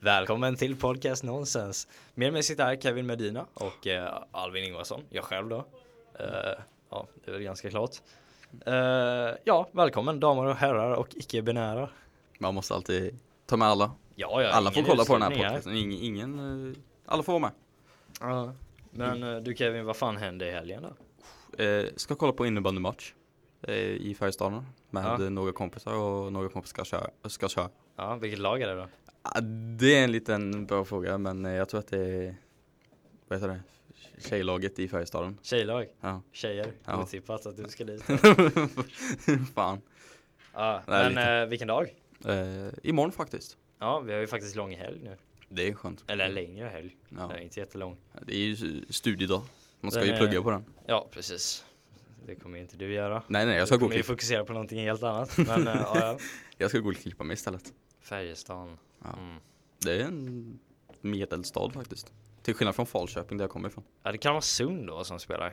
Välkommen till podcast Nonsens. Med mig sitter här Kevin Medina och eh, Alvin Ingvarsson, jag själv då. Eh, ja, det är väl ganska klart. Eh, ja, välkommen damer och herrar och icke-binära. Man måste alltid ta med alla. Ja, ja, Alla får ingen kolla på den här utslagning podcasten. Ingen, ingen, eh, alla får vara med. Ja. Men eh, du Kevin, vad fan hände i helgen då? Eh, ska kolla på innebandymatch eh, i Färjestaden med Ja. eh, några kompisar och några kompisar ska köra. Ska köra. Ja, vilket lag är det då? Ah, det är en liten bra fråga men eh, jag tror att det är, vad heter det, tjejlaget i Färjestaden. Tjejlag? Ja. Tjejer? Ja. Otippat att du ska dit. Fan. Ja, Nej, men lite. eh, vilken dag? Eh, imorgon faktiskt. Ja, vi har ju faktiskt lång helg nu. Det är skönt. Eller längre helg. Mm. Ja. Nej, inte jättelång. Det är ju studiedag. Man ska Den ju är- plugga på den. Ja, precis. Det kommer ju inte du göra. Nej nej jag ska, Du gå och kommer ju klippa, fokusera på någonting helt annat. Men eh, ja, ja. jag ska gå och klippa mig istället. Färjestaden. Ja. Mm. Det är en medelstad faktiskt. Till skillnad från Falköping där jag kommer ifrån. ja, det kan vara Sund då som spelar.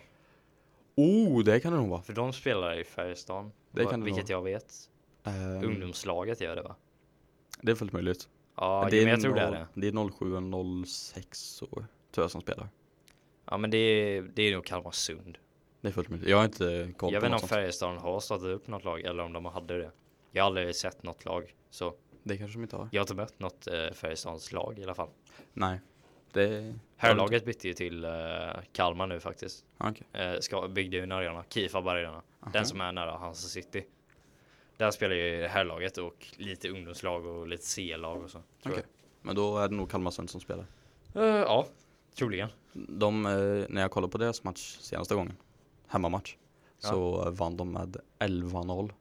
Oh, det kan det nog vara. För de spelar i Färjestaden. Det va- kan det vilket jag vet. Ehm, Ungdomslaget gör det va? Det är fullt möjligt. Ja, Men det men jag tror det är noll- det. Det är 07 och 06 år, tror jag som spelar. Ja, men det är, det är nog Kalmar Sund. Det är fullt möjligt. Jag har inte koll Jag på vet inte något om sånt. Färjestaden har startat upp något lag eller om de hade det. Jag har aldrig sett något lag. Så Det kanske de inte har. jag har inte mött något eh, Färjestadens lag i alla fall. Nej. Det... Herrlaget bytte ju till eh, Kalmar nu faktiskt. Ja, Okej. Eh, ska, byggde ju en arena, Kifab Arena. Den Aha. som är nära Hansa City. Där spelar ju herrlaget och lite ungdomslag och lite C-lag och så. tror Okej. Men då är det nog Kalmarsund som spelar. jag. Eh, ja, troligen. De, eh, när jag kollade på deras match senaste gången, hemmamatch, så vann de med 11-0.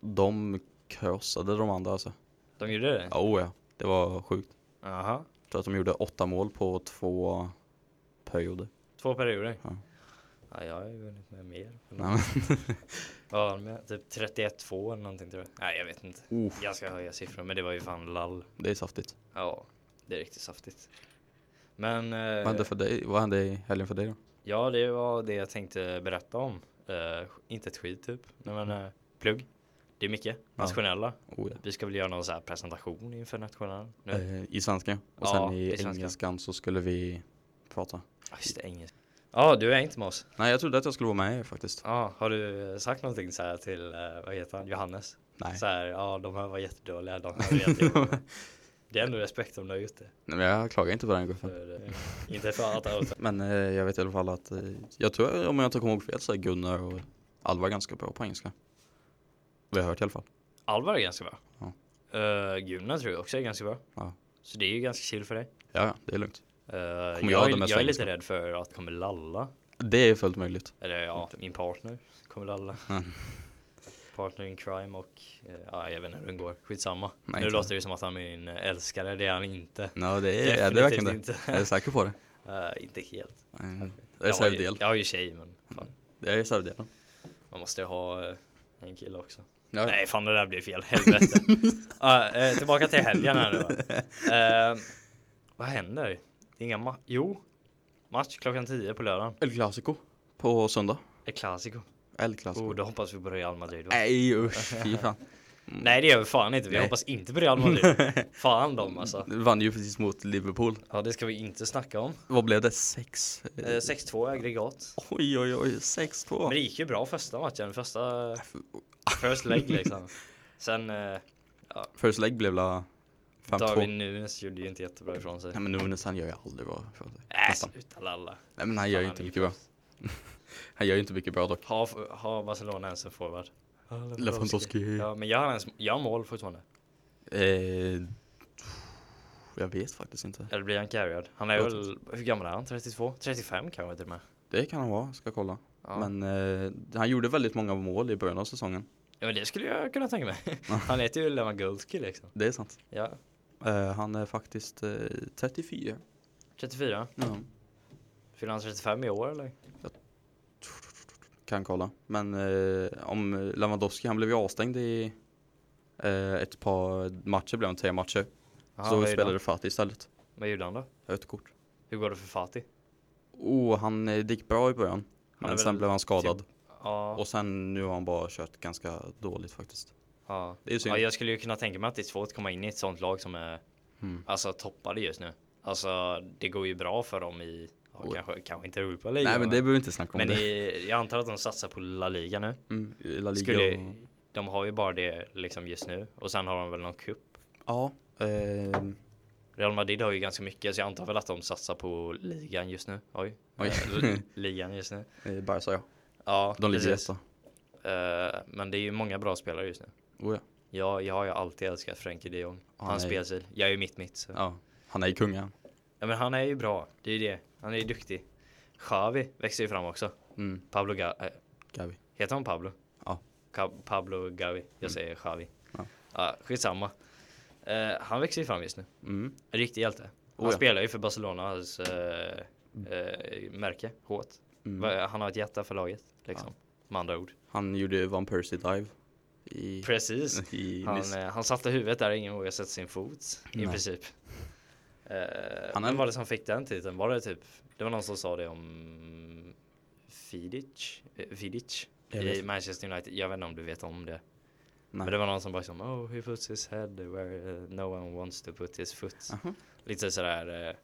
De krossade de andra alltså. De gjorde det? Ja, Oh, ja. Det var sjukt. Aha. Jag tror att de gjorde åtta mål på två perioder. Två perioder? Ja. Ja, jag har ju vunnit med mer. Nej, men, Ja, med typ 31-2 eller någonting tror jag. Nej, jag vet inte. oh, Ganska höga siffror, men det var ju fan lall. det är saftigt. Ja, det är riktigt saftigt. Men... eh, Vad hände för dig? Vad hände i helgen för dig då? Ja, det var det jag tänkte berätta om. Eh, inte ett skit typ, Nej, men eh, plugg. Det är mycket. Nationella. Oh, Mm. ja. Vi ska väl göra någon så här presentation inför nationella. Nu. eh, I svenska. Och Ja, sen i i, svenska. engelskan så skulle vi prata. Ah, just det, engelska. Ja, du är inte med oss. Nej, jag trodde att jag skulle vara med er faktiskt. Ja, har du eh, sagt någonting så här till, eh, vad heter han, Johannes? Nej. Så här, ja, de här var jättedåliga, de här var jättedåliga. det är ändå respekt om du har gjort det. Nej, men jag klagar inte på den guffen. För, eh, inte för att outa. Men eh, jag vet i alla fall att eh, jag tror, om jag inte kommer ihåg fel, så är Gunnar och Alva ganska bra på engelska. Vi har hört i alla fall. Alvar är ganska bra. Ja. Eh, Gunnar tror jag också är ganska bra. Ja. Så det är ju ganska chill för dig. Ja, ja, det är lugnt. Eh, jag, jag ha det är- mest jag är lite engelska? rädd för att kommer lalla. Det är fullt möjligt. Eller ja, min partner kommer lalla. Mm. Partner in crime och eh, ja, jag vet inte hur den går. Skitsamma. Nej, nu inte. låter det som att han är min eh, älskare, det är han inte. Ja, det är, är det verkligen det. Definitivt Jag är säker på det. inte. Eh, inte helt. Mm. Det är Jag har, ju, reservdel. jag har ju tjej men fan, Det är reservdelen. man måste ju ha eh, en kille också. Ja. Nej fan det där blir fel, helvete. Ja, eh, tillbaka till helgen här nu va. Eh, Vad händer? Det är inga ma- Jo, match klockan 10 på lördagen. El Clasico på söndag. Ett Clasico. El Clasico. Oh, då hoppas vi på Real Madrid va? Nej usch, fy fan. Nej det gör vi fan inte, vi Nej. hoppas inte på Real Madrid. fan dem alltså. Vann ju precis mot Liverpool. Ja det ska vi inte snacka om. Vad blev det? Sex? Eh, Eh, 6-2 i aggregat. Oj oj oj, Men 6-2. det gick ju bra första matchen, första... First leg liksom. Sen eh, First leg blev la 5-2. Darwin Nunes gjorde ju inte jättebra ifrån sig. Nej men Nunes han gör ju aldrig bra. ifrån sig. Äh, Nästan. sluta lalla. Nej men han gör ju Fan, inte han är mycket bra. Han gör ju inte mycket bra dock. Har ha Barcelona ens en forward? Ja, Lewandowski. Lewandowski. Ja, men jag har, ens, jag har mål fortfarande. Eh, jag vet faktiskt inte. Eller blir han carried? Han är Jag väl, hur gammal är han? 32? 35 kanske till och med? Det kan han vara, ska kolla. Ja. Men eh, han gjorde väldigt många mål i början av säsongen. ja, men det skulle jag kunna tänka mig. han heter ju Lewandowski liksom. Det är sant. Ja, Eh, han är faktiskt eh, 34. 34. Ja. Fyller han 35 i år eller? Kan kolla. Men eh, om Lewandowski, han blev ju avstängd i eh, ett par matcher, blev han tre matcher. Aha, så vad gjorde spelade han? Fatih istället. Vad gjorde han då? Ett kort. Hur går det för Fatih? Oh, han eh, det gick bra i början. är Men väl typ- sen blev han skadad. Ja, Och sen nu har han bara kört ganska dåligt faktiskt. ja. Det är synd. ja, jag skulle ju kunna tänka mig att det är svårt att komma in i ett sånt lag som är Mm. Alltså toppade just nu. Alltså det går ju bra för dem i, ja, Oj. kanske, kanske inte Europa League. Nej men det behöver vi inte snacka om. men det. i, jag antar att de satsar på La Liga nu. Mm, i La Liga Skulle, och... De har ju bara det liksom just nu och sen har de väl någon cup. Ja. ehm, Real Madrid har ju ganska mycket så jag antar väl att de satsar på ligan just nu. Oj. Oj. Eh, l- ligan just nu. eh, Barca ja. Oh, Ja, De ligger precis. etta. Eh, men det är ju många bra spelare just nu. Oh, ja. Ja, jag har ju alltid älskat Frenkie de Jong. Ja, Hans nej. spelstil. Jag är ju mitt mitt. Så. Ja. ja. Han är ju kungen. men han är ju bra. Det är ju det. Han är ju duktig. Xavi växer ju fram också. Mm. Pablo Ga- eh, Gavi. Heter han Pablo? Ja. Ka- Pablo Gavi. Jag säger Xavi. Mm. Ja. Ja, skitsamma. Eh, han växer ju fram just nu. Mm. En riktig hjälte. Han Oh ja. spelar ju för Barcelonas eh, eh, märke hårt. Mm. Va- Han har ett hjärta för laget. Liksom. Med andra ord. Han gjorde ju Van Persie dive. I, Precis. i Han, nyss. eh, han satte huvudet där ingen vågade sätta sin fot i Nej. princip. Eh, Han han är- Vem var det som fick den titeln? Var det typ, det var någon som sa det om Fidic, eh, Fidic Jag i vet. Manchester United. Jag vet inte om du vet om det. Nej. Men det var någon som bara som oh he puts his head where eh, no one wants to put his foot. Aha. Lite sådär, eh,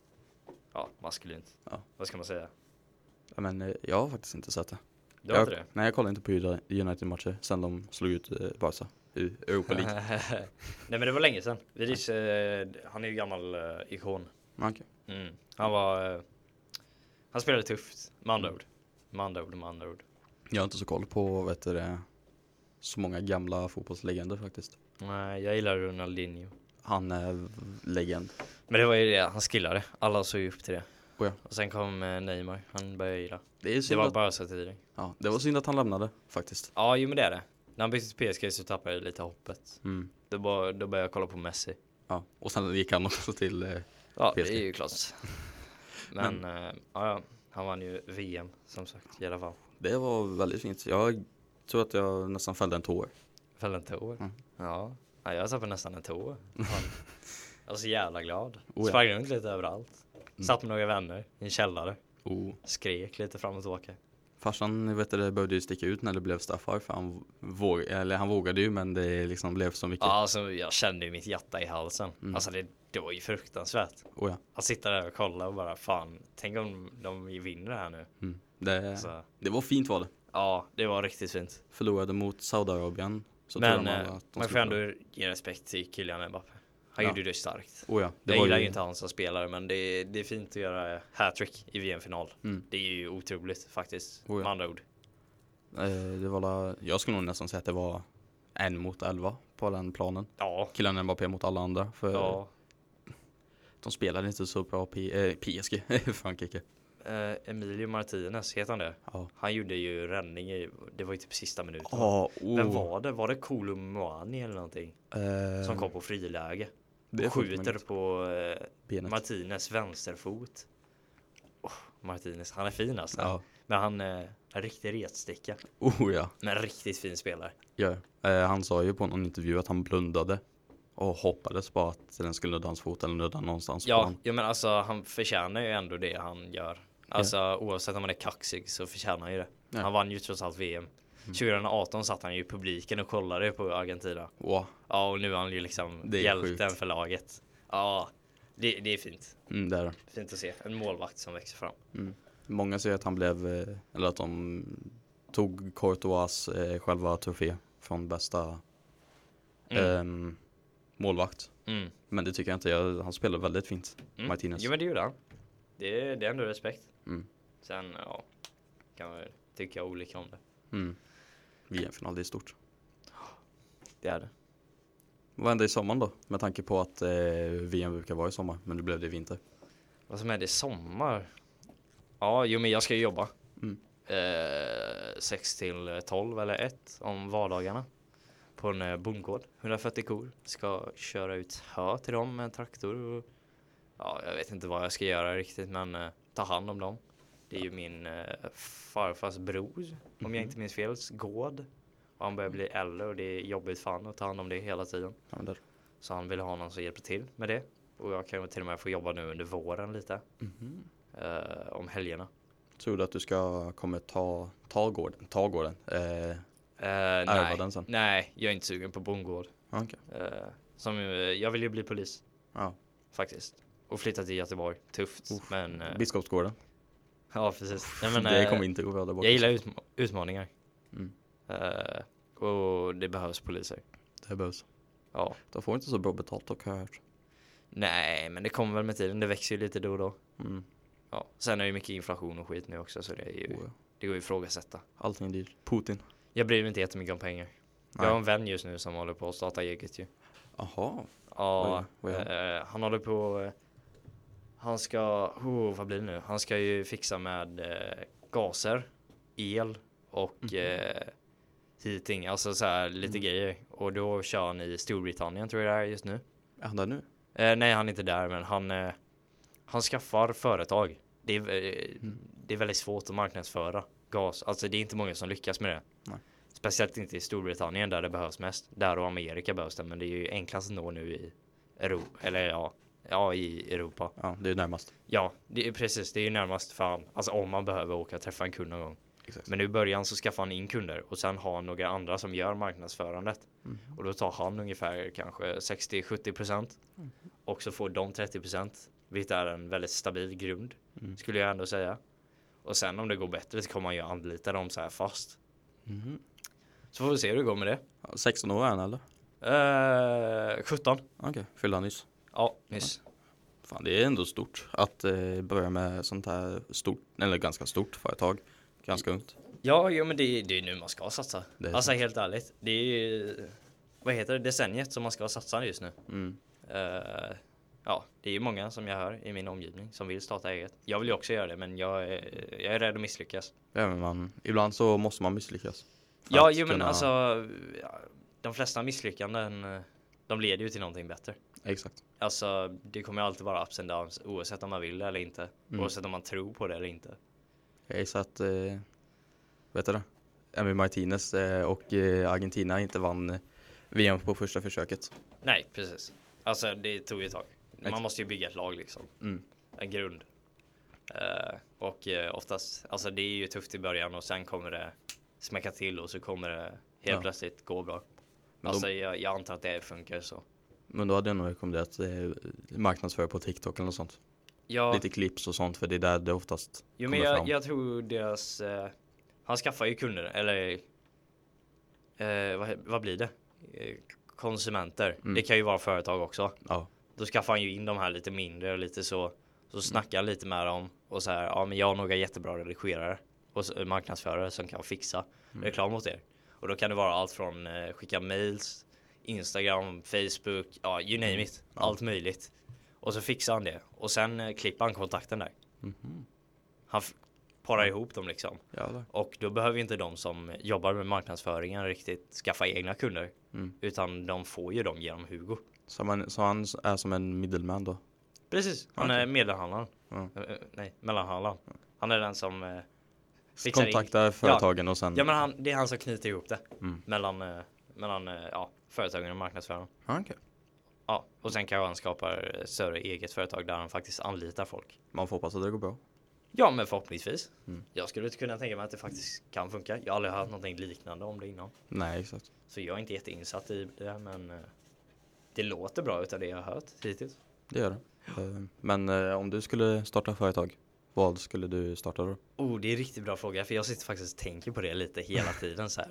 ja maskulint. Ja. Vad ska man säga? Ja, Men eh, jag har faktiskt inte sett det. Du har jag, inte det? Nej jag kollade inte på United-matcher sen de slog ut eh, Barca i Europa League. Nej men det var länge sedan. Vidic, eh, han är ju gammal eh, ikon. Men okej. Mm. Han var... eh, han spelade tufft, med andra ord. Med andra ord, med andra ord. Jag har inte så koll på vet du, det, så många gamla fotbollslegender faktiskt. Nej, jag gillar Ronaldinho. Han är v- legend. Men det var ju det, han skillade. Alla såg ju upp till det. Oh ja. Och sen kom eh, Neymar, han började jag gilla. Det, är Det synd var att, bara så tidigare. ja, det var synd att han lämnade faktiskt. Ja, jo men det är det. När han bytte till PSG så tappade jag lite hoppet. Mm. Då, bara, då började jag kolla på Messi. Ja. Och sen gick han också till eh, Ja, PSG. det är ju klart. Men, eh, ja, ja, han vann ju VM som sagt i alla fall. Det var väldigt fint. Jag tror att jag nästan fällde en tår. Föll en tår. Mm. Ja. ja, jag tappade nästan en tå. Fan. Jag var så jävla glad. Oh ja. Sprang runt lite överallt. Satt med några vänner i en källare. Oh. Skrek lite fram och tillbaka. Typ. Farsan vet du, det behövde ju sticka ut när det blev straffar för han, våg, eller han vågade ju men det liksom blev så mycket. Ja, alltså, jag kände ju mitt hjärta i halsen. Mm. Alltså det, det var ju fruktansvärt. Oh, ja. Att sitta där och kolla och bara fan, tänk om de vinner det här nu. mm. det, Så, det var fint var det. ja, det var riktigt fint. Förlorade mot Saudiarabien. Så Men trodde man eh, att de man får skulle ändå ge respekt till Kylian Mbappé. Han Ja. gjorde det starkt. förlora. Oh, ja. det jag var gillar ju- ju inte han som spelare men det är, det är fint att göra hattrick i VM-final. Mm. Det är ju otroligt faktiskt. Oh ja. Med andra ord. Eh, det var, la- jag skulle nog nästan säga att det var en mot elva på den planen. Ja. Killen Mbappé mot alla andra. För ja. de spelade inte så bra P- eh, PSG, Frankrike. Eh, Emilio Martinez, heter han det? Ja, Han gjorde ju räddning i, det var ju typ sista minuten. Ja, oh, Vem var det? Var det Kolumani eller någonting? eh, Som kom på friläge. det Och är sjukt skjuter möjligt. på eh, benet. Martinez vänsterfot. Oh, Martinez, han är fin alltså. Ja, Men han eh, en riktig retsticka. oh ja. Men riktigt fin spelare. Ja, eh, han sa ju på någon intervju att han blundade och hoppades på att den skulle nudda hans fot eller nudda någonstans. på Ja, han. ja men alltså han förtjänar ju ändå det han gör. Alltså oavsett om han är kaxig så förtjänar han ju det. Ja. Mm. Han vann ju trots allt VM. 2018 satt han ju i publiken och kollade på Argentina. Wow. Ja, och nu är han ju liksom Det är hjälten sjukt. för laget. Ja, det, det är fint. Mm, där. Fint att se. En målvakt som växer fram. Många säger att han blev, eh, eller att de tog Courtois eh, själva trofé från bästa Mm. ehm, målvakt. Mm. Men det tycker jag inte. Jag, han spelar väldigt fint, Mm. Martinez. Jo men det gjorde han. Det, det är ändå respekt. Mm. Sen ja, kan man tycka olika om det. Mm. VM-final, det är stort. Det är det. Vad hände i sommaren då? Med tanke på att eh, VM brukar vara i sommar, men nu blev det i vinter. Vad som är det sommar? Ja, jo men jag ska ju jobba. Mm. Eh, 6 till 12 eller 1 om vardagarna. På en eh, bondgård, 140 kor. Ska köra ut hö till dem med en traktor. Och, ja, jag vet inte vad jag ska göra riktigt men eh, ta hand om dem. Det är ju min eh, farfars bror, om jag inte minns fel, gård. Och han börjar bli äldre och det är jobbigt för han att ta hand om det hela tiden. Ja, men där. Så han vill ha någon som hjälper till med det. Och jag kan ju till och med få jobba nu under våren lite. Mhm. eh, om helgerna. Tror du att du ska, kommer ta, ta gården? Ta gården? Eh, Eh, nej. den sen. nej, jag är inte sugen på bondgård. ja, okej. Eh, som, eh, jag vill ju bli polis. Ja. faktiskt. Och flyttat till Göteborg. Tufft. Men eh, Biskopsgården. ja, precis. Nej, men, det eh, kommer inte gå bra där borta. jag gillar utma- utmaningar. Mm. Eh, och det behövs poliser. Det behövs. Ja. De får inte så bra betalt dock har jag hört. Nej, men det kommer väl med tiden. Det växer ju lite då och då. Mm. Ja. Sen är det ju mycket inflation och skit nu också så det, är ju, Oh, ja. det går ju att ifrågasätta. Allting är dyrt. Putin. Jag bryr mig inte jättemycket om pengar. Jag har en vän just nu som håller på att starta eget ju. Jaha. Ja, Vad gör eh, han håller på... eh, Han ska... Oh, vad blir det nu? Han ska ju fixa med eh, gaser, el och Mhm. eh, heating. Alltså så här Mm. lite grejer. Och då kör han i Storbritannien tror jag det är just nu. Är han där nu? Eh, nej, han är inte där, men han, eh, han skaffar företag. Det är, eh, det är väldigt svårt att marknadsföra gas. Alltså det är inte många som lyckas med det. Nej. Speciellt inte i Storbritannien där det behövs mest. Där och Amerika behövs det, men det är ju enklast att nå nu i Europa. Eller ja, ja i Europa. Ja, det är närmast. Ja, det är precis. Det är ju närmast fan. Alltså om man behöver åka och träffa en kund någon gång. Exakt. Typ. Men nu i början så skaffar han in kunder och sen har han några andra som gör marknadsförandet. Och då tar han ungefär kanske 60-70 procent. Och så får de 30 procent. Vilket är en väldigt stabil grund. Skulle jag ändå säga. Och sen om det går bättre så kommer han ju anlita dem så här fast. Mhm. Så får vi se hur det går med det. Ja, 16 år är han eller? Eh, 17. Okej, fyllde han nyss. Ja, nyss. Fan, det är ändå stort att eh, börja med sånt här stort, eller ganska stort företag. Ganska ungt. Ja, jo, men det, det är nu man ska satsa. Det är Alltså helt ärligt. Det är ju, vad heter det, decenniet som man ska satsa just nu. Mm. Eh, ja, det är ju många som jag hör i min omgivning som vill starta eget. Jag vill ju också göra det, men jag är, jag är rädd att misslyckas. Ja, men man, ibland så måste man misslyckas. För Ja, att jo, men kunna- alltså, ja, de flesta misslyckanden, eh, de leder ju till någonting bättre. Exakt. Alltså, det kommer alltid vara ups and downs oavsett om man vill det eller inte. Mm. Oavsett om man tror på det eller inte. Jag gissar att, eh, vet du det? Emmy Martinez eh, och eh, Argentina inte vann eh, VM på första försöket. Nej, precis. Alltså, det tog ju ett tag. Man Exakt. måste ju bygga ett lag liksom. Mm. en grund. Eh, och eh, oftast, alltså det är ju tufft i början och sen kommer det smäcka till och så kommer det helt Ja. plötsligt gå bra. Men alltså jag, jag antar att det funkar så. Men då hade jag nog rekommenderat eh, marknadsföra på TikTok eller något sånt. Ja, Lite klipps och sånt för det är där det oftast jo, men kommer jag, fram. jag tror deras, eh, han skaffar ju kunder, eller eh, vad, vad blir det? Eh, Konsumenter. Mm. Det kan ju vara företag också. Ja. Då skaffar han ju in de här lite mindre och lite så. Så snackar han lite med dem och så här, ja men jag har några jättebra redigerare och så- marknadsförare som kan fixa reklam åt er. Och då kan det vara allt från eh, skicka mails, Instagram, Facebook, ja you name it. Allt möjligt. Och så fixar han det. Och sen eh, klipper han kontakten där. Han f- parar ihop dem liksom. Jävlar. Och då behöver inte de som jobbar med marknadsföringen riktigt skaffa egna kunder. Mm. Utan de får ju dem genom Hugo. Så, man, så han är som en middleman då? Precis, han Ah, Okej. är mellanhandlaren. Ja. Mm. Eh, eh, Nej, mellanhandlaren. Han är den som eh, fixar in- Kontaktar företagen och sen... Ja men han, det är han som knyter ihop det. Mm. Mellan, eh, mellan eh, ja, företagen och marknadsföraren. Ja, okej. Ja, och sen kanske han skapar eh, större eget företag där han faktiskt anlitar folk. Man får hoppas att det går bra. Ja men förhoppningsvis. Mm. Jag skulle inte kunna tänka mig att det faktiskt kan funka. Jag har aldrig hört någonting liknande om det innan. Nej, exakt. Så jag är inte jätteinsatt i det men eh, det låter bra utav det jag har hört hittills. Det gör det. Eh, Men eh, om du skulle starta företag, vad skulle du starta då? Oh, det är en riktigt bra fråga för jag sitter faktiskt och tänker på det lite hela tiden så här.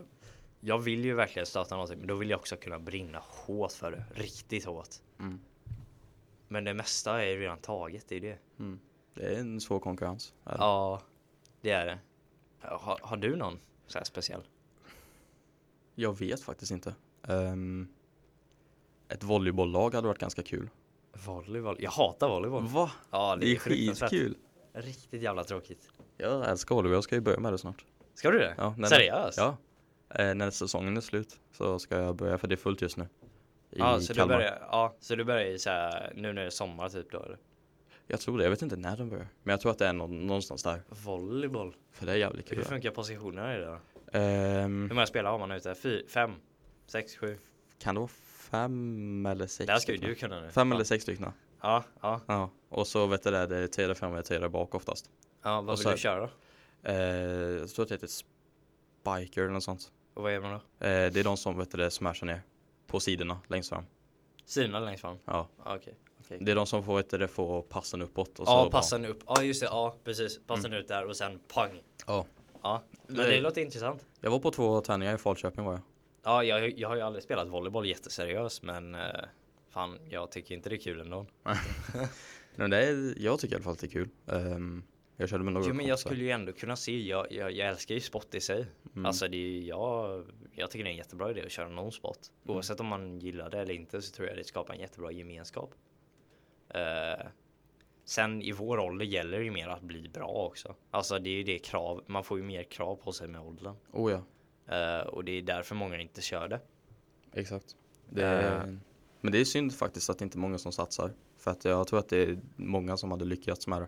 Jag vill ju verkligen starta någonting men då vill jag också kunna brinna hårt för det. Riktigt hårt. Mm. Men det mesta är ju redan taget, det är det. Det är en svår konkurrens. Eh, Eller? Ja, det är det. Har, har du någon så här speciell? Jag vet faktiskt inte. Ehm, ett volleybolllag hade varit ganska kul. Volleyboll? Jag hatar volleyboll. Va? Ja, Det är fruktansvärt. skitkul. Riktigt jävla tråkigt. Jag älskar volleyboll, jag ska ju börja med det snart. Ska du det? Ja, nej, nej. Seriöst? Ja. Eh, när säsongen är slut så ska jag börja, för det är fullt just nu. I Ja, så du Kalmar. börjar, ja, så du börjar i så här, nu när det är sommar typ då eller? Jag tror det, jag vet inte när de börjar. Men jag tror att det är nå- någonstans där. Volleyboll? För det är jävligt Hur kul. funkar positionerna i det då? Ehm, Hur många spelare har man ute? Fy, fem? Sex? Sju? kan det vara fem eller sex? Det här ska ju stycken? du kunna nu. Fem eller sex stycken. Ja, ja. Ja. Och så vet du det, det är tre där framme och tre där bak oftast. ja vad Och vill så- du köra då? Eh, jag tror att det heter Spiker eller något sånt. Och vad gör man då? Eh, det är de som vet du det, smashar ner på sidorna längst fram. Sidorna längst fram? Ja. Ja, Okej. okej. Det är de som får, vet du, det, får passen uppåt. Och så Mm. Ja, bara- passen upp. Ja, just det. Ja, precis. Passen ut där och sen pang. Ja. Ja, men Nej. det låter intressant. Jag var på två tärningar i Falköping var jag. Ja, jag, jag har ju aldrig spelat volleyboll jätteseriös, men eh, fan, jag tycker inte det är kul ändå. Men det är, jag tycker i alla fall att det är kul. Ehm, jag körde med några Jo, men jag kompisar. skulle ju ändå kunna se. Jag, jag, jag älskar ju sport i sig. Alltså, det är, ju- jag, jag tycker det är en jättebra idé att köra någon sport. Oavsett om man gillar det eller inte så tror jag det skapar en jättebra gemenskap. Eh, sen i vår ålder gäller det ju mer att bli bra också. Alltså, det är ju det krav. Man får ju mer krav på sig med åldern. Oh ja, Eh, och det är därför många inte kör det. exakt. Det är, Eh, Men det är synd faktiskt att det inte är många som satsar. För att jag tror att det är många som hade lyckats med det.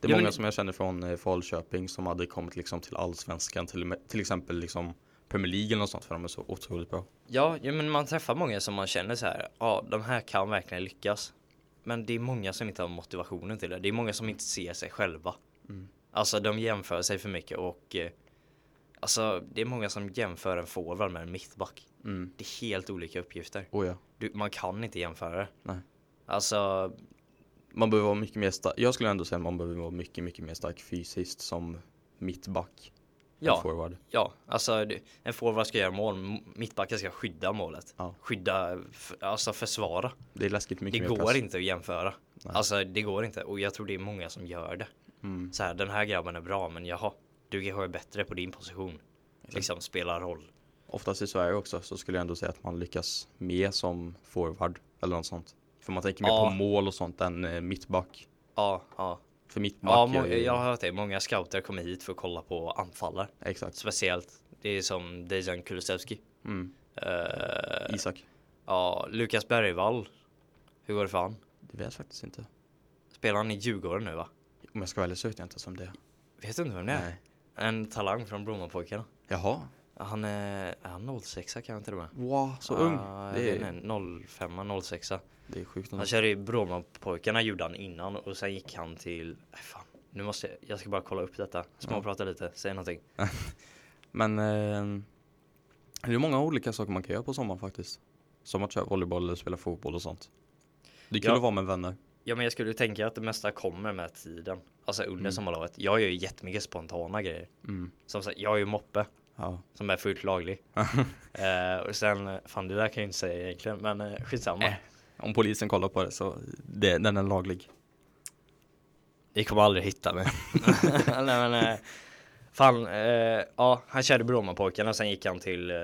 Det är Ja, men- många som jag känner från eh, Falköping som hade kommit liksom till allsvenskan, till, och med- till exempel liksom Premier League eller något sånt för de är så otroligt bra. Ja, ja, men man träffar många som man känner så här, ja, de här kan verkligen lyckas. Men det är många som inte har motivationen till det. Det är många som inte ser sig själva. Mm. Alltså de jämför sig för mycket och eh, alltså det är många som jämför en forward med en mittback. Mm. Det är helt olika uppgifter. Oh ja. Du, man kan inte jämföra det. Nej. Alltså, Man behöver vara mycket mer stark. Jag skulle ändå säga att man behöver vara mycket, mycket mer stark fysiskt som mittback. än Ja. Forward. ja, alltså det- en forward ska göra mål, m- mittbacken ska skydda målet. Ja. Skydda, f- alltså försvara. Det är läskigt mycket Det mer går press. inte att jämföra. Alltså det går inte och jag tror det är många som gör det. Mm. Så här, den här grabben är bra men jaha, du kanske är bättre på din position. Liksom spelar roll. Oftast i Sverige också så skulle jag ändå säga att man lyckas mer som forward eller något sånt. För man tänker mer Ja. på mål och sånt än eh, mittback. Ja, ja. För mittback ja gör må- ju- jag har hört det. Många scouter kommer hit för att kolla på anfallare. Exakt. Speciellt, det är som Dejan Kulusevski. Mm. Eh, Isak. ja, Lukas Bergvall. Hur går det för han? Det vet jag faktiskt inte. Spelar han i Djurgården nu va? Om jag ska vara ärlig så vet jag inte ens om det. Vet du inte vem det är? En talang från Brommapojkarna. Jaha. Han är, är han 06 kan jag till och med? Wow, så Ja, ung. jag Det vet är, inte, 05, 06. det är sjukt. ändå. Han körde i Brommapojkarna gjorde han innan och sen gick han till, äh, fan, nu måste jag, jag ska bara kolla upp detta. Småprata lite, säg någonting. Men eh, det är många olika saker man kan göra på sommaren faktiskt. Som att köra volleyboll eller spela fotboll och sånt. Det är kul Ja. att vara med vänner. Ja men jag skulle tänka att det mesta kommer med tiden. Alltså under sommarlovet. Jag gör ju jättemycket spontana grejer. Mm. Som sagt, jag har ju moppe Ja. som är fullt laglig. eh, och sen, fan det där kan jag inte säga egentligen men eh, skitsamma. Om polisen kollar på det så det, den är laglig. Ni kommer aldrig hitta mig. Nej men eh, fan, eh, ja han körde Brommapojkarna och sen gick han till, eh,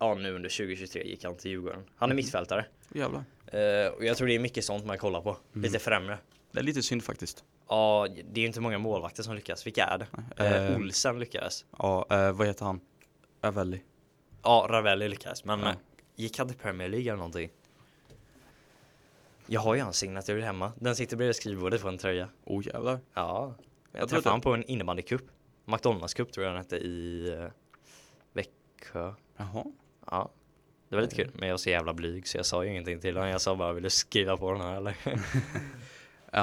ja nu under 2023 gick han till Djurgården. Han är mittfältare. Jävlar. Eh, och jag tror det är mycket sånt man kollar på. Lite främre. Det är lite synd faktiskt. Ja, det är ju inte många målvakter som lyckas. Vilka är det? Eh, Eh, Olsen lyckades. Ja, eh, vad heter han? Avelli. Ja, Ravelli lyckades. Men Ja. eh, gick han till Premier League eller någonting? Jag har ju hans signatur hemma. Den sitter bredvid skrivbordet på en tröja. Oh jävlar. Ja, jag, Jag tror träffade att- honom på en innebandycup. McDonalds Cup tror jag den hette i eh, Växjö. Jaha. Ja, det var lite kul. Men jag var så jävla blyg så jag sa ju ingenting till honom. Jag sa bara, vill du skriva på den här eller? Eh,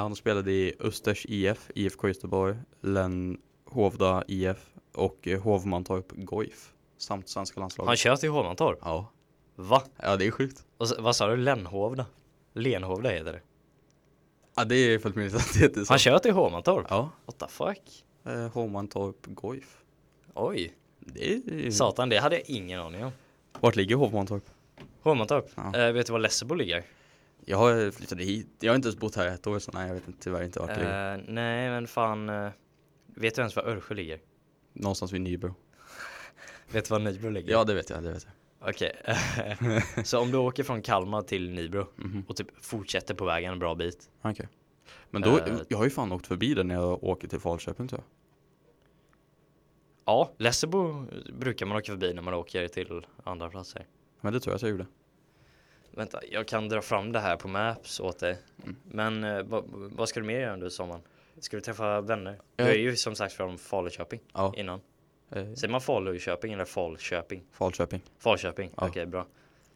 han spelade i Östers IF, IFK Göteborg, Len Hovda IF och eh, Hovmantorp Goif. Samt svenska landslaget. Han kör till Hovmantorp. Ja. Va? ja, det är sjukt. Och så, vad sa du? Lenhovda? Lenhovda heter det. Ja, det är fullt möjligt att det heter så. Han kör till Hovmantorp? Ja. What the fuck? Eh, Hovmantorp Goif. Oj. Det är... Mm. Satan, det hade jag ingen aning om. Vart ligger Hovmantorp? Hovmantorp? Ja. Eh, vet du var Lessebo ligger? Jag har flyttat hit. Jag har inte ens bott här i ett år så nej, jag vet inte, tyvärr inte vart det ligger. Eh, nej, men fan. eh, vet du ens var Örsjö ligger? Någonstans vid Nybro. Vet du var Nybro ligger? Ja, det vet jag, det vet jag. Okej. så om du åker från Kalmar till Nybro och typ fortsätter på vägen en bra bit. Ah, Okej. Men då, Eh. jag har ju fan åkt förbi den när jag åker till Falköping tror jag. Ja, Lessebo brukar man åka förbi när man åker till andra platser. Men det tror jag att jag gjorde. Vänta, jag kan dra fram det här på Maps åt dig. Mm. Men eh, vad- vad ska du mer göra under sommaren? Ska du träffa vänner? Du Ja. är ju som sagt från Faluköping Eh. Ja. innan. Eh, Säger man Faluköping eller Falköping? Falköping. Falköping, Ja. okej bra.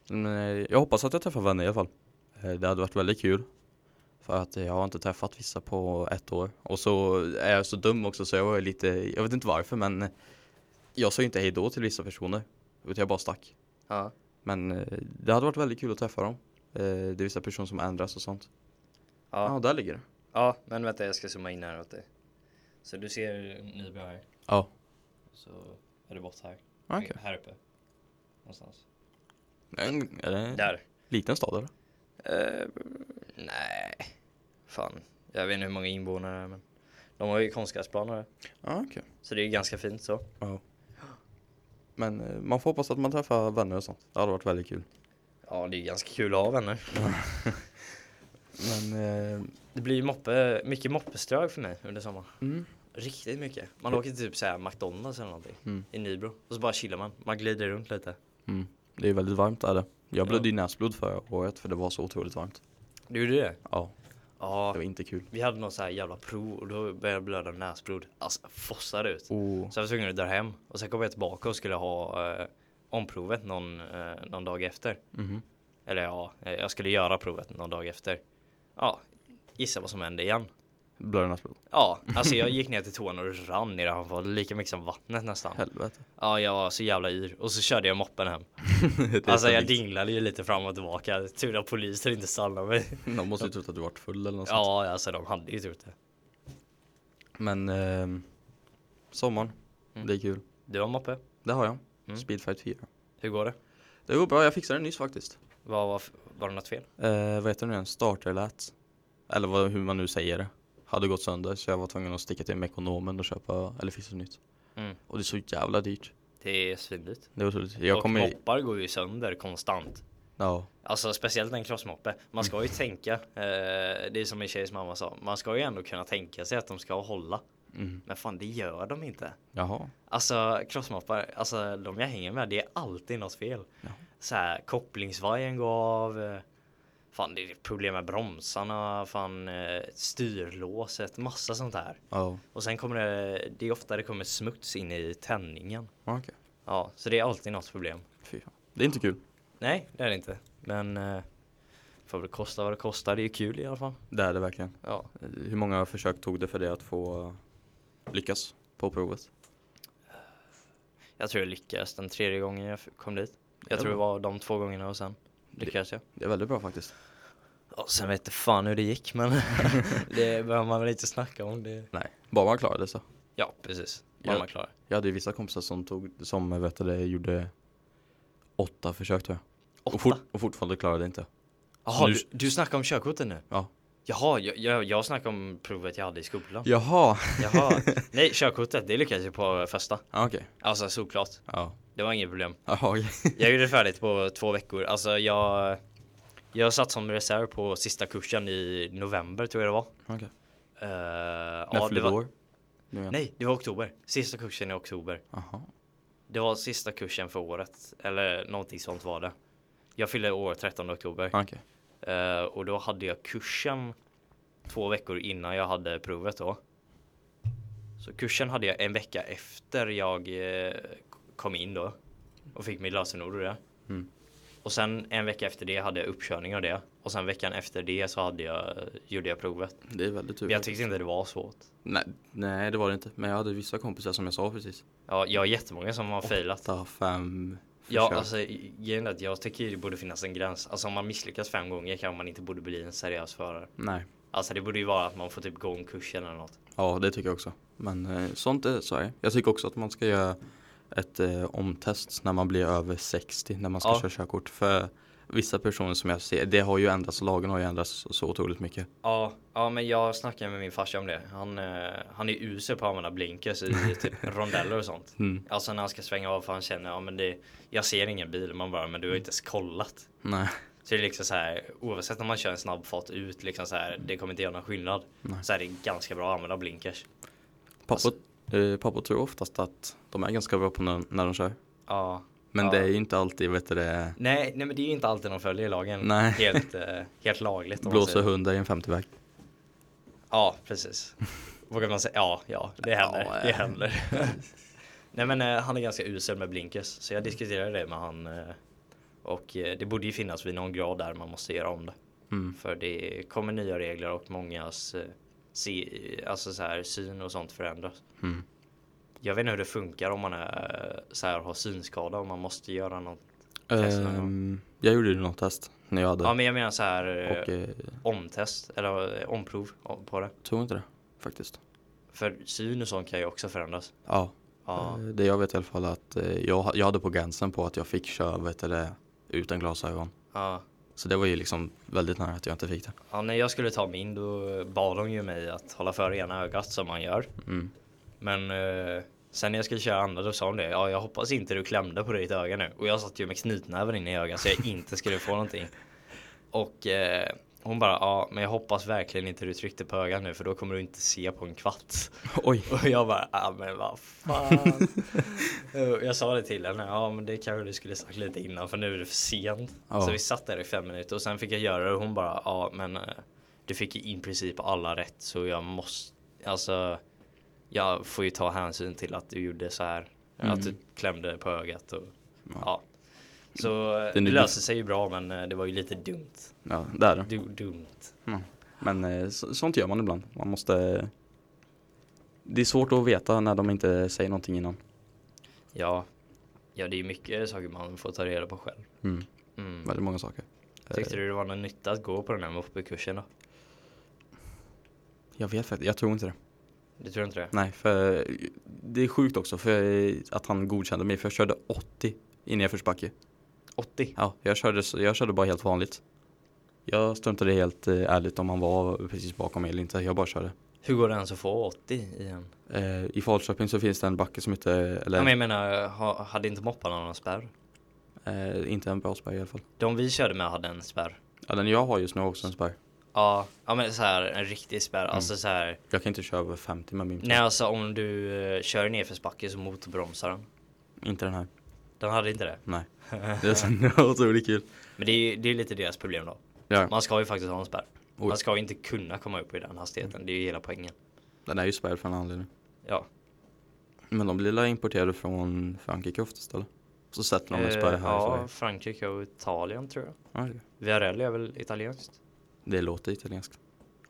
Men, eh, jag hoppas att jag träffar vänner i alla fall. Eh, det hade varit väldigt kul. För att eh, jag har inte träffat vissa på ett år. Och så är jag så dum också så jag var ju lite, jag vet inte varför men eh, jag sa ju inte hej då till vissa personer. Utan jag bara stack. Ja. Men eh, det hade varit väldigt kul att träffa dem. Eh, Det är vissa personer som ändras och sånt. Ja, Ja, där ligger det. ja, men vänta jag ska zooma in här åt dig. Så du ser Nybro här. Ja. Så är det bort här. Ah, Okej. Här uppe. Någonstans. Men, Är det en Där. liten stad eller? Eh, nej, fan. Jag vet inte hur många invånare det är men. De har ju konstgräsplaner här. Ja, okej. Så det är ju ganska fint så. Ja. Men eh, man får hoppas att man träffar vänner och sånt. Det hade varit väldigt kul. Ja, det är ganska kul att ha vänner. Men, eh, Det blir ju moppe, mycket moppeströg för mig under sommaren. mm. Riktigt mycket. Man åker till typ såhär McDonalds eller någonting Mm. i Nybro och så bara chillar man. Man glider runt lite. Mm. Det är väldigt varmt där. det. Jag Ja. blödde ju näsblod förra året för det var så otroligt varmt. Du gjorde det? Ja, det Ja. var inte kul. Vi hade någon så här jävla prov och då började jag blöda näsblod. Alltså fossade ut. Oh. Så jag var tvungen att dra hem och sen kom jag tillbaka och skulle ha eh, omprovet någon, eh, någon dag efter. Mhm. Eller ja, eh, jag skulle göra provet någon dag efter. Ja, gissa vad som hände igen. Blödde näsblod. Ja, alltså jag gick ner till toan och rann i det här fallet, lika mycket som vattnet nästan. Helvete. Ja, jag var så jävla yr och så körde jag moppen hem. Det är Alltså jag stabilt. dinglade ju lite fram och tillbaka. Tur att polisen inte stannade mig. De måste ju trott att du varit full eller något sånt. Ja, alltså de hade ju trott det. Men eh, sommaren, Mm. det är kul. Du har moppe. Det har jag. Mm. Speedfight 4. Hur går det? Det går bra, jag fixade det nyss faktiskt. Var, var, var det något fel? Eh, vad heter det nu igen? Starterlät. Eller vad, hur man nu säger det. Hade gått sönder så jag var tvungen att sticka till Mekonomen och köpa eller fixa nytt. Mm. Och det är så jävla dyrt. Det är svindyrt. Det är otroligt. Jag och kommer ju... moppar går ju sönder konstant. Ja. Alltså speciellt en crossmoppe. Man ska ju Mm. tänka. Eh, det är som min tjejs mamma sa. Man ska ju ändå kunna tänka sig att de ska hålla. Mm. Men fan det gör de inte. Jaha. Alltså crossmoppar, alltså de jag hänger med, det är alltid något fel. Ja. Så här, kopplingsvajern går av. eh, Fan det är problem med bromsarna, fan eh, styrlåset, massa sånt här. Ja. Och sen kommer det, det är ofta det kommer smuts in i tändningen. Okej. Ja, så det är alltid något problem. Fy fan. Det är inte kul. Nej, det är det inte. Men eh, får väl kosta vad det kostar, det är ju kul i alla fall. Det är det verkligen. Ja. Eh, Hur många försök tog det för dig att få eh, lyckas på provet? Jag tror jag lyckades den tredje gången jag f- kom dit. Ja, Jag tror det bra. var de två gångerna och sen Det- lyckades jag. Det är väldigt bra faktiskt. Ja, sen vet jag fan hur det gick men det behöver man väl inte snacka om. Det. Nej, bara man klarade det så. Ja precis, Ja. bara man klarar. Jag hade ju vissa kompisar som tog, som eh, vet du, det, gjorde åtta försök tror jag. Åtta? Och, fort, och fortfarande klarade det inte. Jaha, Nu- du, du snackar om körkortet nu? Ja. Jaha, jag, jag, jag snackar om provet jag hade i skolan. Jaha! Jaha, nej körkortet det lyckades jag på första. Ja, okej. Alltså såklart, Ja. det var inget problem. Jaha, okej. Jag gjorde färdigt på två veckor. Alltså jag, jag satt som reserv på sista kursen i november tror jag det var. Okej. Eh, När ja, det fyllde var- du år? Nu igen. Nej, det var oktober. Sista kursen i oktober. Jaha. Det var sista kursen för året. Eller någonting sånt var det. Jag fyllde år 13 oktober. Ja, Okej. Eh, och då hade jag kursen två veckor innan jag hade provet då. Så kursen hade jag en vecka efter jag eh, kom in då. Och fick mitt lösenord och det. Mm. Och sen en vecka efter det hade jag uppkörning av det. Och sen veckan efter det så hade jag, gjorde jag provet. Det är väldigt tur. Men jag tyckte inte det var svårt. nej, nej, det var det inte. Men jag hade vissa kompisar som jag sa precis. Ja, jag har jättemånga som har failat. Ta fem försök. Ja, alltså grejen är att jag tycker det borde finnas en gräns. Alltså om man misslyckas fem gånger kan man inte borde bli en seriös förare. Nej. Alltså det borde ju vara att man får typ gå en kurs eller något. Ja, det tycker jag också. Men eh, sånt är Sverige. Jag tycker också att man ska göra ett eh, omtest när man blir över 60 när man ska Ja. köra körkort. För vissa personer som jag ser, det har ju ändrats, lagen har ju ändrats så otroligt mycket. Ja, ja men jag snackade med min farsa om det. Han, eh, han är usel på att använda blinkers i typ rondeller och sånt. Mm. Alltså när han ska svänga av för han känner, ja men det, jag ser ingen bil. Man bara, men du har ju inte ens kollat. Nej. Så det är liksom så här, oavsett om man kör en snabb fart ut, liksom så här, det kommer inte göra någon skillnad. Nej. Så här, det är ganska bra att använda blinkers. Alltså- Pappor, eh, pappor tror oftast att de är ganska bra på när, när de kör. Ja, Men Ja. det är ju inte alltid, vet du det, Nej, nej men det är ju inte alltid de följer lagen. Nej. Helt, eh, helt lagligt. om man blåser säger. hundar i en 50-väg. Ja, precis. Vågar man säga? Ja, ja, det händer. Ja, det eh. händer. nej men eh, han är ganska usel med blinkers. Så jag diskuterade det med han. Eh, och eh, det borde ju finnas vid någon grad där man måste göra om det. Mm. För det kommer nya regler och mångas eh, se, alltså så här, syn och sånt förändras. Mm. Jag vet inte hur det funkar om man är, eh, så här, har synskada och man måste göra något. Testa någon Ehm, jag gjorde ju något test när jag hade. Ja men jag menar så här eh, Och eh, omtest eller eh, omprov om- på det. tror inte det faktiskt. För syn och sånt kan ju också förändras. Ja, Ja. eh, det jag vet i alla fall att eh, jag, ha- jag hade på gränsen på att jag fick köra vet du, det, utan glasögon. Ja. Så det var ju liksom väldigt nära att jag inte fick det. ja, när jag skulle ta min då bad de ju mig att hålla för ena ögat som man gör. Mm. Men eh, sen när jag skulle köra andra då sa de det. Ja, jag hoppas inte du klämde på ditt öga nu. Och jag satt ju med knytnäven inne i ögat så jag inte skulle få någonting. Och eh, hon bara, ja men jag hoppas verkligen inte du tryckte på ögat nu för då kommer du inte se på en kvart. Oj, Och jag bara, ja men vad fan. Eh, jag sa det till henne, ja men det kanske du skulle sagt lite innan för nu är det för sent. Ja. Så vi satt där i fem minuter och sen fick jag göra det och hon bara, ja men eh, du fick ju i princip alla rätt så jag måste, alltså jag får ju ta hänsyn till att du gjorde så här. Att du klämde på ögat och Mm. ja. Så eh, det är nu- löste sig ju bra men eh, det var ju lite dumt. ja det är det. Du, dumt. Men eh, så, sånt gör man ibland. Man måste... Det är svårt att veta när de inte säger någonting innan. Mm. Ja. ja, det är ju mycket saker man får ta reda på själv. Mm. Mm. Väldigt många saker. Tyckte du det var någon nytta att gå på den här moppekursen då? Jag vet faktiskt, jag tror inte det. Du tror inte det? Nej, för det är sjukt också för att han godkände mig för jag körde 80 i nedförsbacke. 80? Ja, jag körde, så- jag körde bara helt vanligt. Jag struntade helt eh, ärligt om han var precis bakom mig eller inte, jag bara körde. Hur går det ens att få 80 i en? Eh, I Falköping så finns det en backe som heter, eller Ja, men jag menar, ha, hade inte mopparna någon spärr? eh, inte en Brasberg i alla fall. De vi körde med hade en spärr. Ja, den jag har just nu har också en spärr. Ja, ja men så här en riktig spärr. Mm. Alltså så här, Jag kan inte köra över 50 med min. nej alltså om du eh, kör i nedförsbacke så motorbromsar den. Inte den här. Den hade inte det. Nej. Det är så otroligt kul. Men det är ju det är lite deras problem då. Ja, Man ska ju faktiskt ha en spärr. Oj. Man ska ju inte kunna komma upp i den hastigheten. Det är ju hela poängen. den är ju spärrad för en anledning. Ja. Men de blir la importerade från Frankrike oftast eller? Så sätter de en Eh, spärr här i ja, Sverige. Frankrike och Italien tror jag. Ja, det- Viarelli är väl italienskt? Det låter italienskt.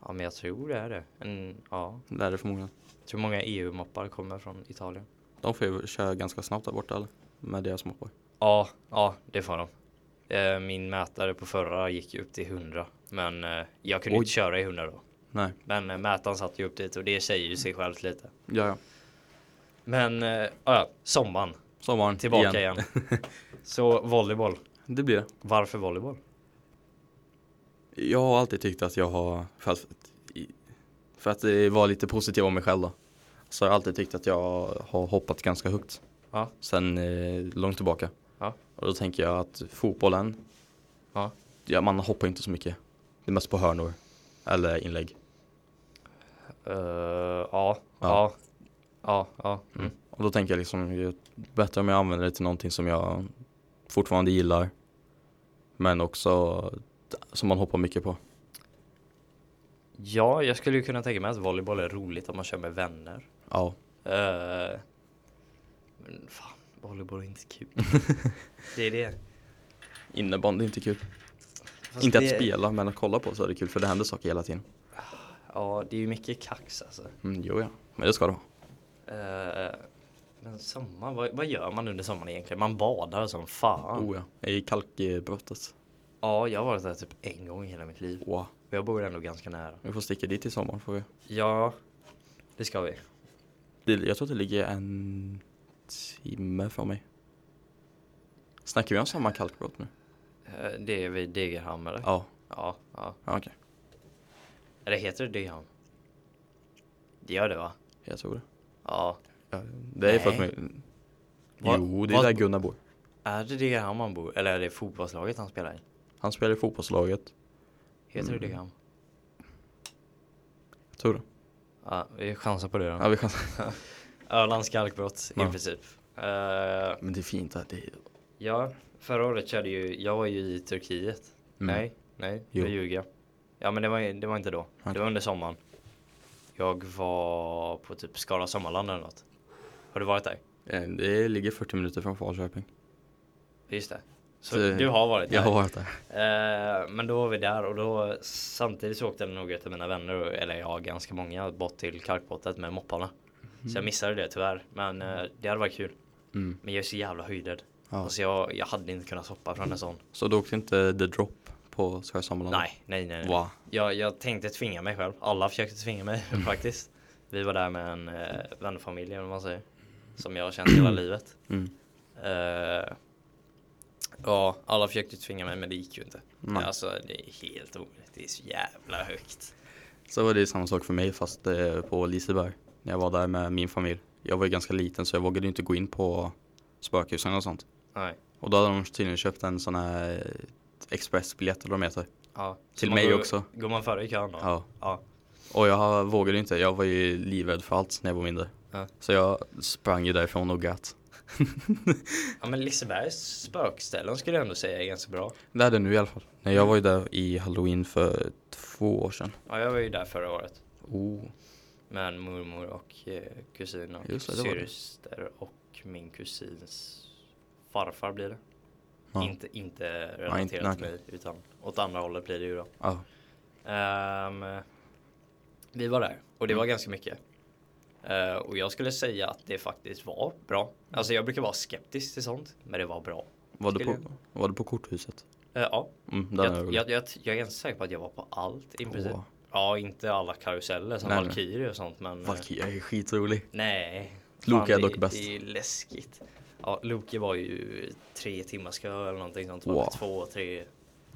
Ja men jag tror det är det. En, ja. Det är det förmodligen. Jag tror många EU-moppar kommer från Italien. De får ju köra ganska snabbt där borta eller? Med deras moppar. Ja, ja det får de. Eh, Min mätare på förra gick ju upp till 100 men eh, jag kunde Oj. inte köra i 100 då. Nej. Men eh, mätaren satt ju upp dit och det säger ju sig självt lite. Ja, ja. Men eh, ja, ja, sommaren Sommaren. tillbaka igen. Så volleyboll. Det blir det. Varför volleyboll? Jag har alltid tyckt att jag har, för att, för att eh, vara lite positiv om mig själv då. Så har jag alltid tyckt att jag har hoppat ganska högt. Ja. Sen eh, långt tillbaka. Ja. Och då tänker jag att fotbollen, Ja. ja, man hoppar inte så mycket. Det är mest på hörnor. Eller inlägg. Eh, ja, ja, ja, ja. Mm. Och då tänker jag liksom, det är bättre om jag använder det till någonting som jag fortfarande gillar. Men också som man hoppar mycket på. Ja, jag skulle ju kunna tänka mig att volleyboll är roligt om man kör med vänner. Ja, Eh, men fan, volleyboll är inte kul. det är det. innebandy är inte kul. Fast inte det, att spela, men att kolla på så är det kul för det händer saker hela tiden. Ja, det är ju mycket kax alltså. Mm, jo, ja. Men det ska det vara. Eh, men sommar, vad, vad gör man under sommaren egentligen? Man badar som fan. Oh, ja. I kalkbrottet. Ja, jag har varit där typ en gång i hela mitt liv. Wow. Men jag bor ändå ganska nära. Vi får sticka dit i sommar. Får vi. Ja, det ska vi. Det, jag tror att det ligger en timme från mig. Snackar vi om samma kalkbrott nu? Eh, det är vid Degerhamn eller? Ja, Ja, ja. ja okej. Eller heter det Degerhamn? Det gör det va? Jag tror det. Ja. Ja, det är för att Nej. man... Va- Jo, det är vad- där Gunnar bor. Är det Degerhamn man bor? Eller är det fotbollslaget han spelar i? Han spelar i fotbollslaget. Heter Mm. det Degerhamn? Jag tror det. Ja, vi chansar på det då. Ja, vi kan... Ölands kalkbrott i Ja. princip. Eh, Men det är fint där. Det är... ja, förra året körde ju, jag var ju i Turkiet. Mm. Nej, nej, Jo. jag ljuger. Ja men det var, ju- det var inte då. Det Okej. var under sommaren. Jag var på typ Skara Sommarland eller något. Har du varit där? Eh, Det ligger 40 minuter från Falköping. Just det. Så Det- du har varit där? Jag har varit där. Eh, men då var vi där och då samtidigt så åkte några av mina vänner, eller ja ganska många, bort till kalkbrottet med mopparna. Så jag missade det tyvärr, men eh, det hade varit kul. Mm. Men jag är så jävla höjdrädd. Ja. Mm. Alltså jag, jag hade inte kunnat hoppa från en sån. Så du åkte inte The Drop på Sjösambolarna? Nej, nej, nej. nej. Wow. Jag, jag tänkte tvinga mig själv. Alla försökte tvinga mig Mm. faktiskt. Vi var där med en eh, vänfamilj eller vad man säger. Som jag har känt hela livet. Mm. Eh, ja, alla försökte tvinga mig men det gick ju inte. Nej. Alltså det är helt omöjligt. Det är så jävla högt. Så var det samma sak för mig fast eh, på Liseberg. När jag var där med min familj. Jag var ju ganska liten så jag vågade ju inte gå in på spökhusen och sånt. Nej. Och då hade de tydligen köpt en sån här eh, expressbiljett eller vad de heter. Ja. Till Så man mig går, också. Går man före i kön då? Ja. ja. Och jag vågade ju inte. Jag var ju livrädd för allt när jag var mindre. Ja. Så jag sprang ju därifrån och grät. Ja men Lisebergs spökställen skulle jag ändå säga är ganska bra. Det är det nu i alla fall. Nej, jag var ju där i halloween för två år sedan. Ja jag var ju där förra året. Oh. Med mormor och eh, kusin och Just det, det var det. syster och min kusins farfar blir det. Ja. Inte, inte Ja, inte- relaterat till nej. mig utan åt andra hållet blir det ju då. Ja. Ehm, vi var där och Mm. det var ganska mycket. Eh, och jag skulle säga att det faktiskt var bra. Alltså jag brukar vara skeptisk till sånt, men det var bra. Var, du på, Skulle var du på korthuset? Eh, ja, Mm, där jag, jag, jag, jag, jag är ganska säker på att jag var på allt i princip. Åh. Ja, inte alla karuseller som Nej, nej. Valkyrie och sånt, men... eh, Valkyria är skitrolig. Nej. Loki Fan, är dock det- bäst. Det är läskigt. Ja, Loki var ju tre timmars kö eller någonting sånt. Wow. Wow. Två, tre,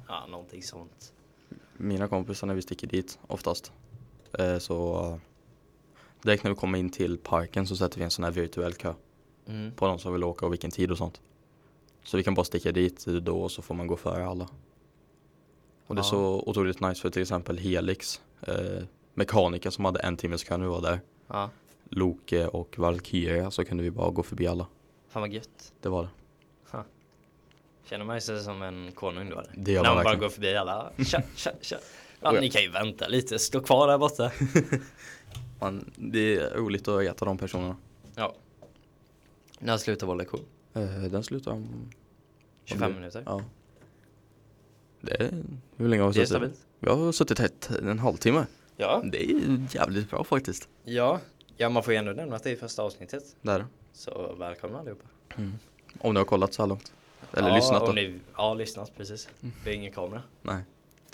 ja någonting sånt. Mina kompisar när vi sticker dit oftast. Eh, så eh, direkt när vi kommer in till parken så sätter vi en sån här virtuell kö Mm. på de som vill åka och vilken tid och sånt. Så vi kan bara sticka dit då och så får man gå före alla. Och det är Ja. så otroligt nice för till exempel Helix, eh, mekaniker som hade en timmes kö nu var där. Ja, Loke och Valkyria så kunde vi bara gå förbi alla. fan vad gött. Det var det. Känner man sig som en konung då? eller? Det gör När man man bara verkligen. går förbi alla. Tja, tja, tja. Ja, Oh ja. ni kan ju vänta lite, stå kvar där borta. Man, det är roligt att äta de personerna. Ja. När slutar vår lektion? Eh, den slutar om... 25 minuter. Ja. Det är, hur länge har vi Det är suttit? stabilt. Vi har suttit här ett- en halvtimme. Ja. Det är jävligt bra faktiskt. ja. Ja, man får ju ändå nämna att det är första avsnittet. Där. Så välkomna allihopa. Om ni har kollat så här långt. Eller ja, lyssnat om då. Ni, ja, lyssnat precis. Det är ingen kamera. Nej.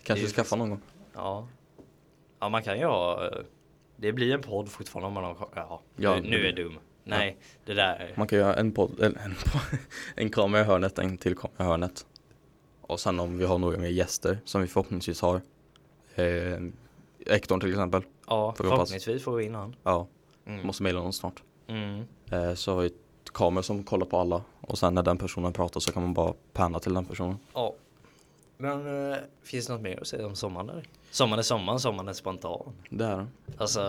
Kanske ju skaffa någon gång. Ja. Ja, man kan ju ha... eh, Det blir en podd fortfarande om man har kamera. Ja, Ja, nu, nu det- är dum. Nej, det där. är- Man kan göra en podd, eller en, podd, en kamera i hörnet, en till kamera i hörnet. Och sen om vi har några mer gäster som vi förhoppningsvis har. Eh, Ektorn till exempel. Ja, Får vi hoppas. förhoppningsvis får vi in han. Ja, Mm. måste mejla honom snart. Mm. Eh, så har vi ett kamera som kollar på alla och sen när den personen pratar så kan man bara panna till den personen. Ja. Men eh, finns det något mer att säga om sommaren? Där? Sommaren är sommaren, sommaren är spontan. Det är den. Alltså,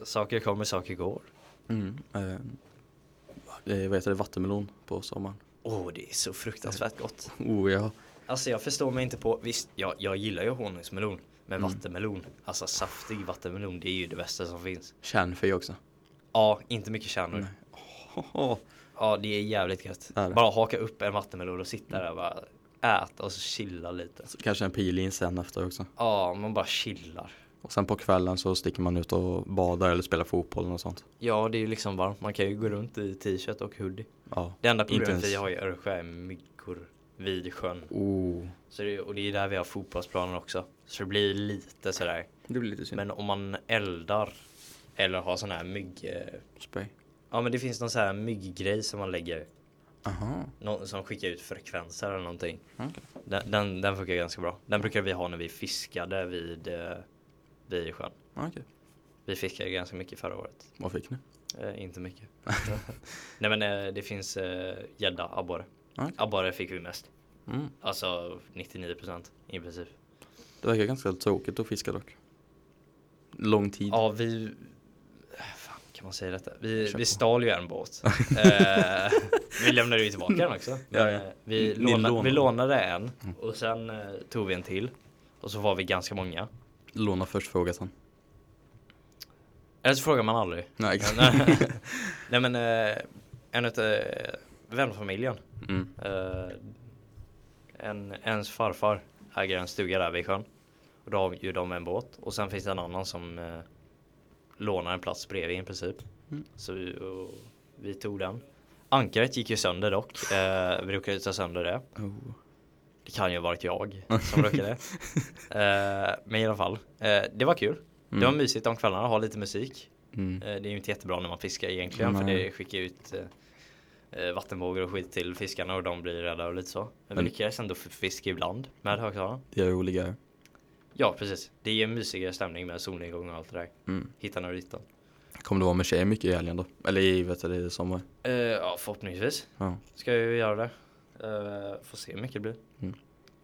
eh, saker kommer, saker går. Mm. Eh, eh, vad heter det? Vattenmelon på sommaren. Åh, det är så fruktansvärt gott. Oh ja. Alltså jag förstår mig inte på, visst, jag, jag gillar ju honungsmelon. Men Mm. vattenmelon, alltså saftig vattenmelon, det är ju det bästa som finns. Kärnfri också. Ja, inte mycket kärnor. Haha. Ja, det är jävligt gött. Är det? Bara haka upp en vattenmelon och sitta där och bara äta och så chilla lite. Så Kanske en pilin sen efter också. Ja, man bara chillar. Och sen på kvällen så sticker man ut och badar eller spelar fotboll och sånt. Ja, det är ju liksom varmt. Man kan ju gå runt i t-shirt och hoodie. Ja. Det enda Inte problemet ens- vi har i Öresjö är myggor vid sjön. Oh. Så det, och det är där vi har fotbollsplanen också. Så det blir lite sådär. Det blir lite synd. Men om man eldar eller har sån här mygg... eh, Spray. Ja men det finns någon sån här mygggrej som man lägger. Aha. Någon som skickar ut frekvenser eller någonting. Okej. Den, den, den funkar ganska bra. Den brukade vi ha när vi fiskade vid, eh, vid sjön. Okej. Vi fiskade ganska mycket förra året. Vad fick ni? Eh, inte mycket. Nej men eh, det finns eh, gädda, abborre. Okej. Abborre fick vi mest. Mm. Alltså 99% i princip. Det verkar ganska tråkigt att fiska dock. Lång tid. Ja, vi... eh, Fan, kan man säga detta? Vi, Kör vi på. stal ju en båt. eh, vi lämnade ju tillbaka den också. Men, Ja, ja. eh, Vi, Ni lånade, lånade. Mm. vi lånade en och sen eh, tog vi en till. Och så var vi ganska många. Låna först, fråga sen. Eller så frågar man aldrig. Nej, exakt. eh, Nej men eh, en utav vänfamiljen. Mm. Eh, en, ens farfar äger en stuga där vid sjön. Och då har ju de en båt. Och sen finns det en annan som eh, lånar en plats bredvid i princip. Mm. Så vi, och, vi tog den. Ankaret gick ju sönder dock. Eh, vi brukade ta sönder det. Oh. Det Det kan ju ha varit jag som rökade. Eh, men i alla fall, eh, det var kul. Det var Mm. mysigt om kvällarna, ha lite musik. Mm. Eh, det är ju inte jättebra när man fiskar egentligen för Nej. det skickar ut eh, eh, vattenvågor och skit till fiskarna och de blir rädda och lite så. Men vi Men- lyckades ändå f- fiska ibland med högtalaren. Det är roligare. Ja precis, det är en mysigare stämning med solnedgång och allt det där. Mm. Hitta några riton. Kommer det vara med tjejer mycket i helgen då? Eller i, vet du, det är sommar. Eh, ja förhoppningsvis Ja. ska jag ju göra det. Eh, får se hur mycket det blir. Mm.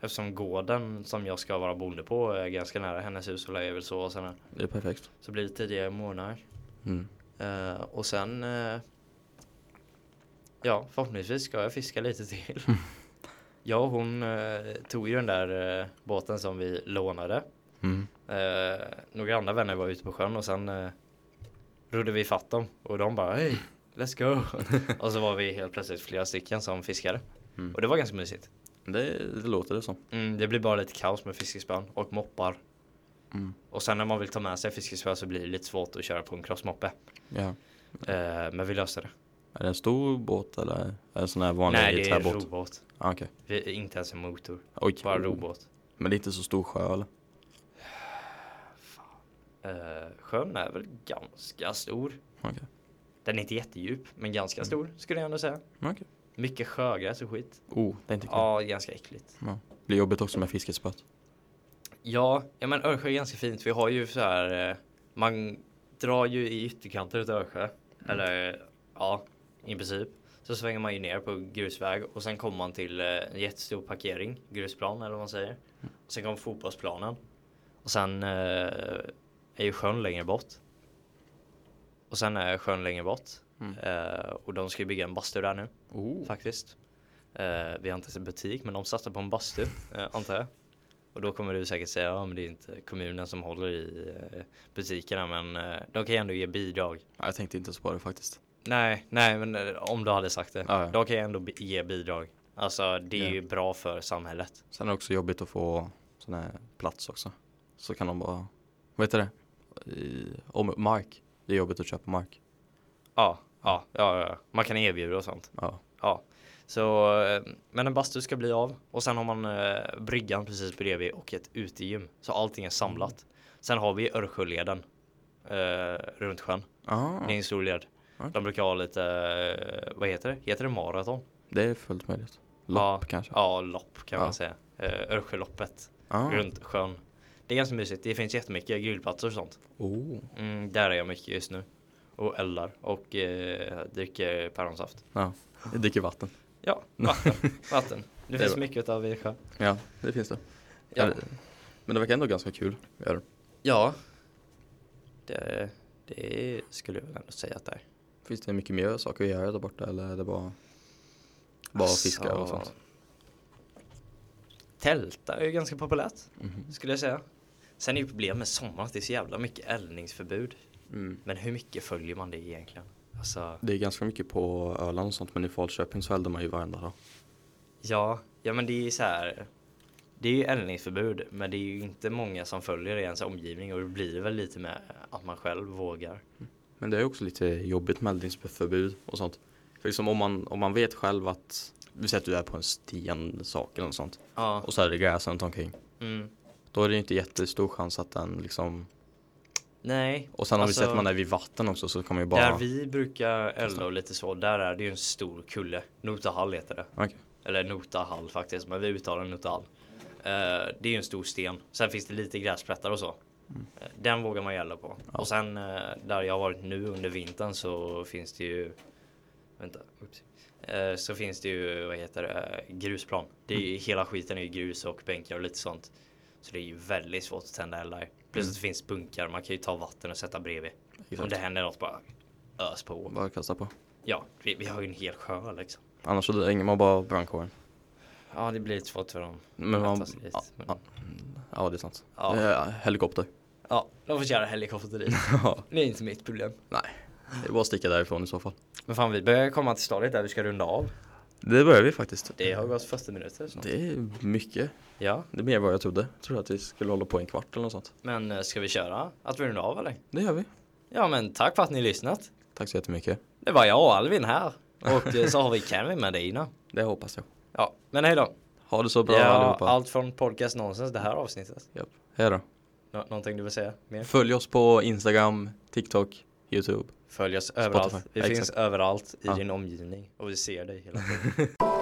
Eftersom gården som jag ska vara bonde på är ganska nära hennes hus och lägger väl så och sen Det är perfekt. så blir det tidigare morgnar. Mm. Eh, och sen eh, Ja, förhoppningsvis ska jag fiska lite till. Mm. jag och hon eh, tog ju den där eh, båten som vi lånade. Mm. Eh, några andra vänner var ute på sjön och sen eh, rodde vi fatt dem och de bara hej, let's go. och så var vi helt plötsligt flera stycken som fiskade. Mm. Och det var ganska mysigt. Det, det låter det som. Mm, det blir bara lite kaos med fiskespön och moppar. Mm. Och sen när man vill ta med sig fiskespö så blir det lite svårt att köra på en crossmoppe. Ja. Eh, men vi löste det. Är det en stor båt eller är det en sån här vanlig Nej, det är träbåt? robåt. Ah, Okej. Vi, inte ens en motor, Oj. bara robåt. Men det är inte så stor sjö eller? Eh, sjön är väl ganska stor. Okej. Den är inte jättedjup, men ganska stor skulle jag ändå säga. Okej. Mycket sjögräs och skit. Oh, det är inte kul. Ja, ganska äckligt. Blir jobbigt också med fiskespöet. Ja, ja men Örsjö är ganska fint. Vi har ju så här, eh, man drar ju i ytterkanter utav Örsjö. Eller eh, ja, i princip. Så svänger man ju ner på grusväg och sen kommer man till eh, en jättestor parkering, grusplan eller vad man säger. Och sen kommer fotbollsplanen. Och sen eh, är ju sjön längre bort. Och sen är sjön längre bort. Mm. Eh, och de ska ju bygga en bastu där nu Oh. faktiskt. Eh, vi har inte sett butik, men de satsar på en bastu, eh, antar jag. Och då kommer du säkert säga, ja men det är inte kommunen som håller i eh, butikerna, men eh, de kan ju ändå ge bidrag. Jag tänkte inte ens på det faktiskt. Nej, nej, men eh, om du hade sagt det. Ja, ja. De kan ju ändå bi- ge bidrag. Alltså, det är Ja. ju bra för samhället. Sen är det också jobbigt att få sån här plats också. Så kan de bara, vad heter det? I, om, mark. Det är jobbigt att köpa mark. Ja, ja, ja, ja. Man kan erbjuda och sånt. Ja. Ja, så eh, men en bastu ska bli av och sen har man eh, bryggan precis bredvid och ett utegym. Så allting är samlat. Sen har vi Örsjöleden eh, runt sjön. Det är Ah, en stor led. Okej. De brukar ha lite, eh, vad heter det? Heter det maraton? det är fullt möjligt. Ja. Lopp kanske? Ja, lopp kan Ja. man säga. Eh, Örsjöloppet Ah. runt sjön. Det är ganska mysigt. Det finns jättemycket grillplatser och sånt. Oh. Mm, där är jag mycket just nu. Och eldar och eh, dricker päronsaft. Ja. Jag dricker vatten. Ja, vatten. vatten. Det Det är finns bra. mycket av i sjön. Ja, det finns det. Ja. Men det verkar ändå ganska kul. Gör det. Ja. Det, det skulle jag väl ändå säga att det är. Finns det mycket mer saker att göra där borta eller är det bara, bara fiska och sånt? Tälta är ju ganska populärt Mhm. skulle jag säga. Sen är ju problemet med sommaren att det är så jävla mycket eldningsförbud. Mm. Men hur mycket följer man det egentligen? Alltså, Det är ganska mycket på Öland och sånt men i Falköping så eldar man ju varenda dag. ja, ja men det är ju så här. Det är ju eldningsförbud, men det är ju inte många som följer i ens omgivning och det blir väl lite med att man själv vågar. Men det är också lite jobbigt med eldningsförbud och sånt. För liksom om man, om man vet själv att, vi säger att du är på en stensak eller något sånt Ja, och så är det gräs runt omkring. mm. Då är det ju inte jättestor chans att den liksom nej. Och sen om Alltså- vi sätter man är vid vatten också så kan man ju bara Där vi brukar elda och lite så, där är det ju en stor kulle. Notahall heter det. Okej. Eller Notahall faktiskt, men vi uttalar den Notahall. Eh, det är ju en stor sten. Sen finns det lite gräsplättar och så. Eh, Den vågar man ju elda på. Och sen eh, där jag har varit nu under vintern så finns det ju... Vänta, oops. Eh, Så finns det ju, vad heter det, eh, grusplan. Det är ju, Hela skiten är ju grus och bänkar och lite sånt. Så det är ju väldigt svårt att tända eld där. Plus att det finns bunkar, man kan ju ta vatten och sätta bredvid. Om Exakt. det händer något bara ös på. bara kasta på. Ja, vi, vi har ju en hel sjö liksom. Annars så ringer man bara brandkåren. Ja, det blir lite svårt för dem. Men att man, ta sig dit, ja, men- ja, ja, det är sant. Ja. Eh, helikopter. Ja, de får köra helikopter dit. Ja. Det är inte mitt problem. Nej, det är bara att sticka därifrån i så fall. Men fan, vi börjar komma till stadiet där vi ska runda av. Det börjar vi faktiskt. Det har gått 40 minuter snart. Det är mycket. Ja, Det är mer än vad jag trodde. Jag trodde att vi skulle hålla på en kvart eller något sånt. men eh, ska vi köra att vi rundar av eller? Det gör vi. Ja, men tack för att ni lyssnat. Tack så jättemycket. Det var jag och Alvin här. Och eh, så har vi Kevin med Dina. Det hoppas jag. Ja, men hej då. Ha det så bra Ja, allihopa. allt från podcast nonsens det här avsnittet. Hej då. Nå- någonting du vill säga mer? Följ oss på Instagram, TikTok, YouTube. Följ oss överallt. Spotify. Vi Ja, finns exakt. överallt i Ja. din omgivning och vi ser dig hela tiden.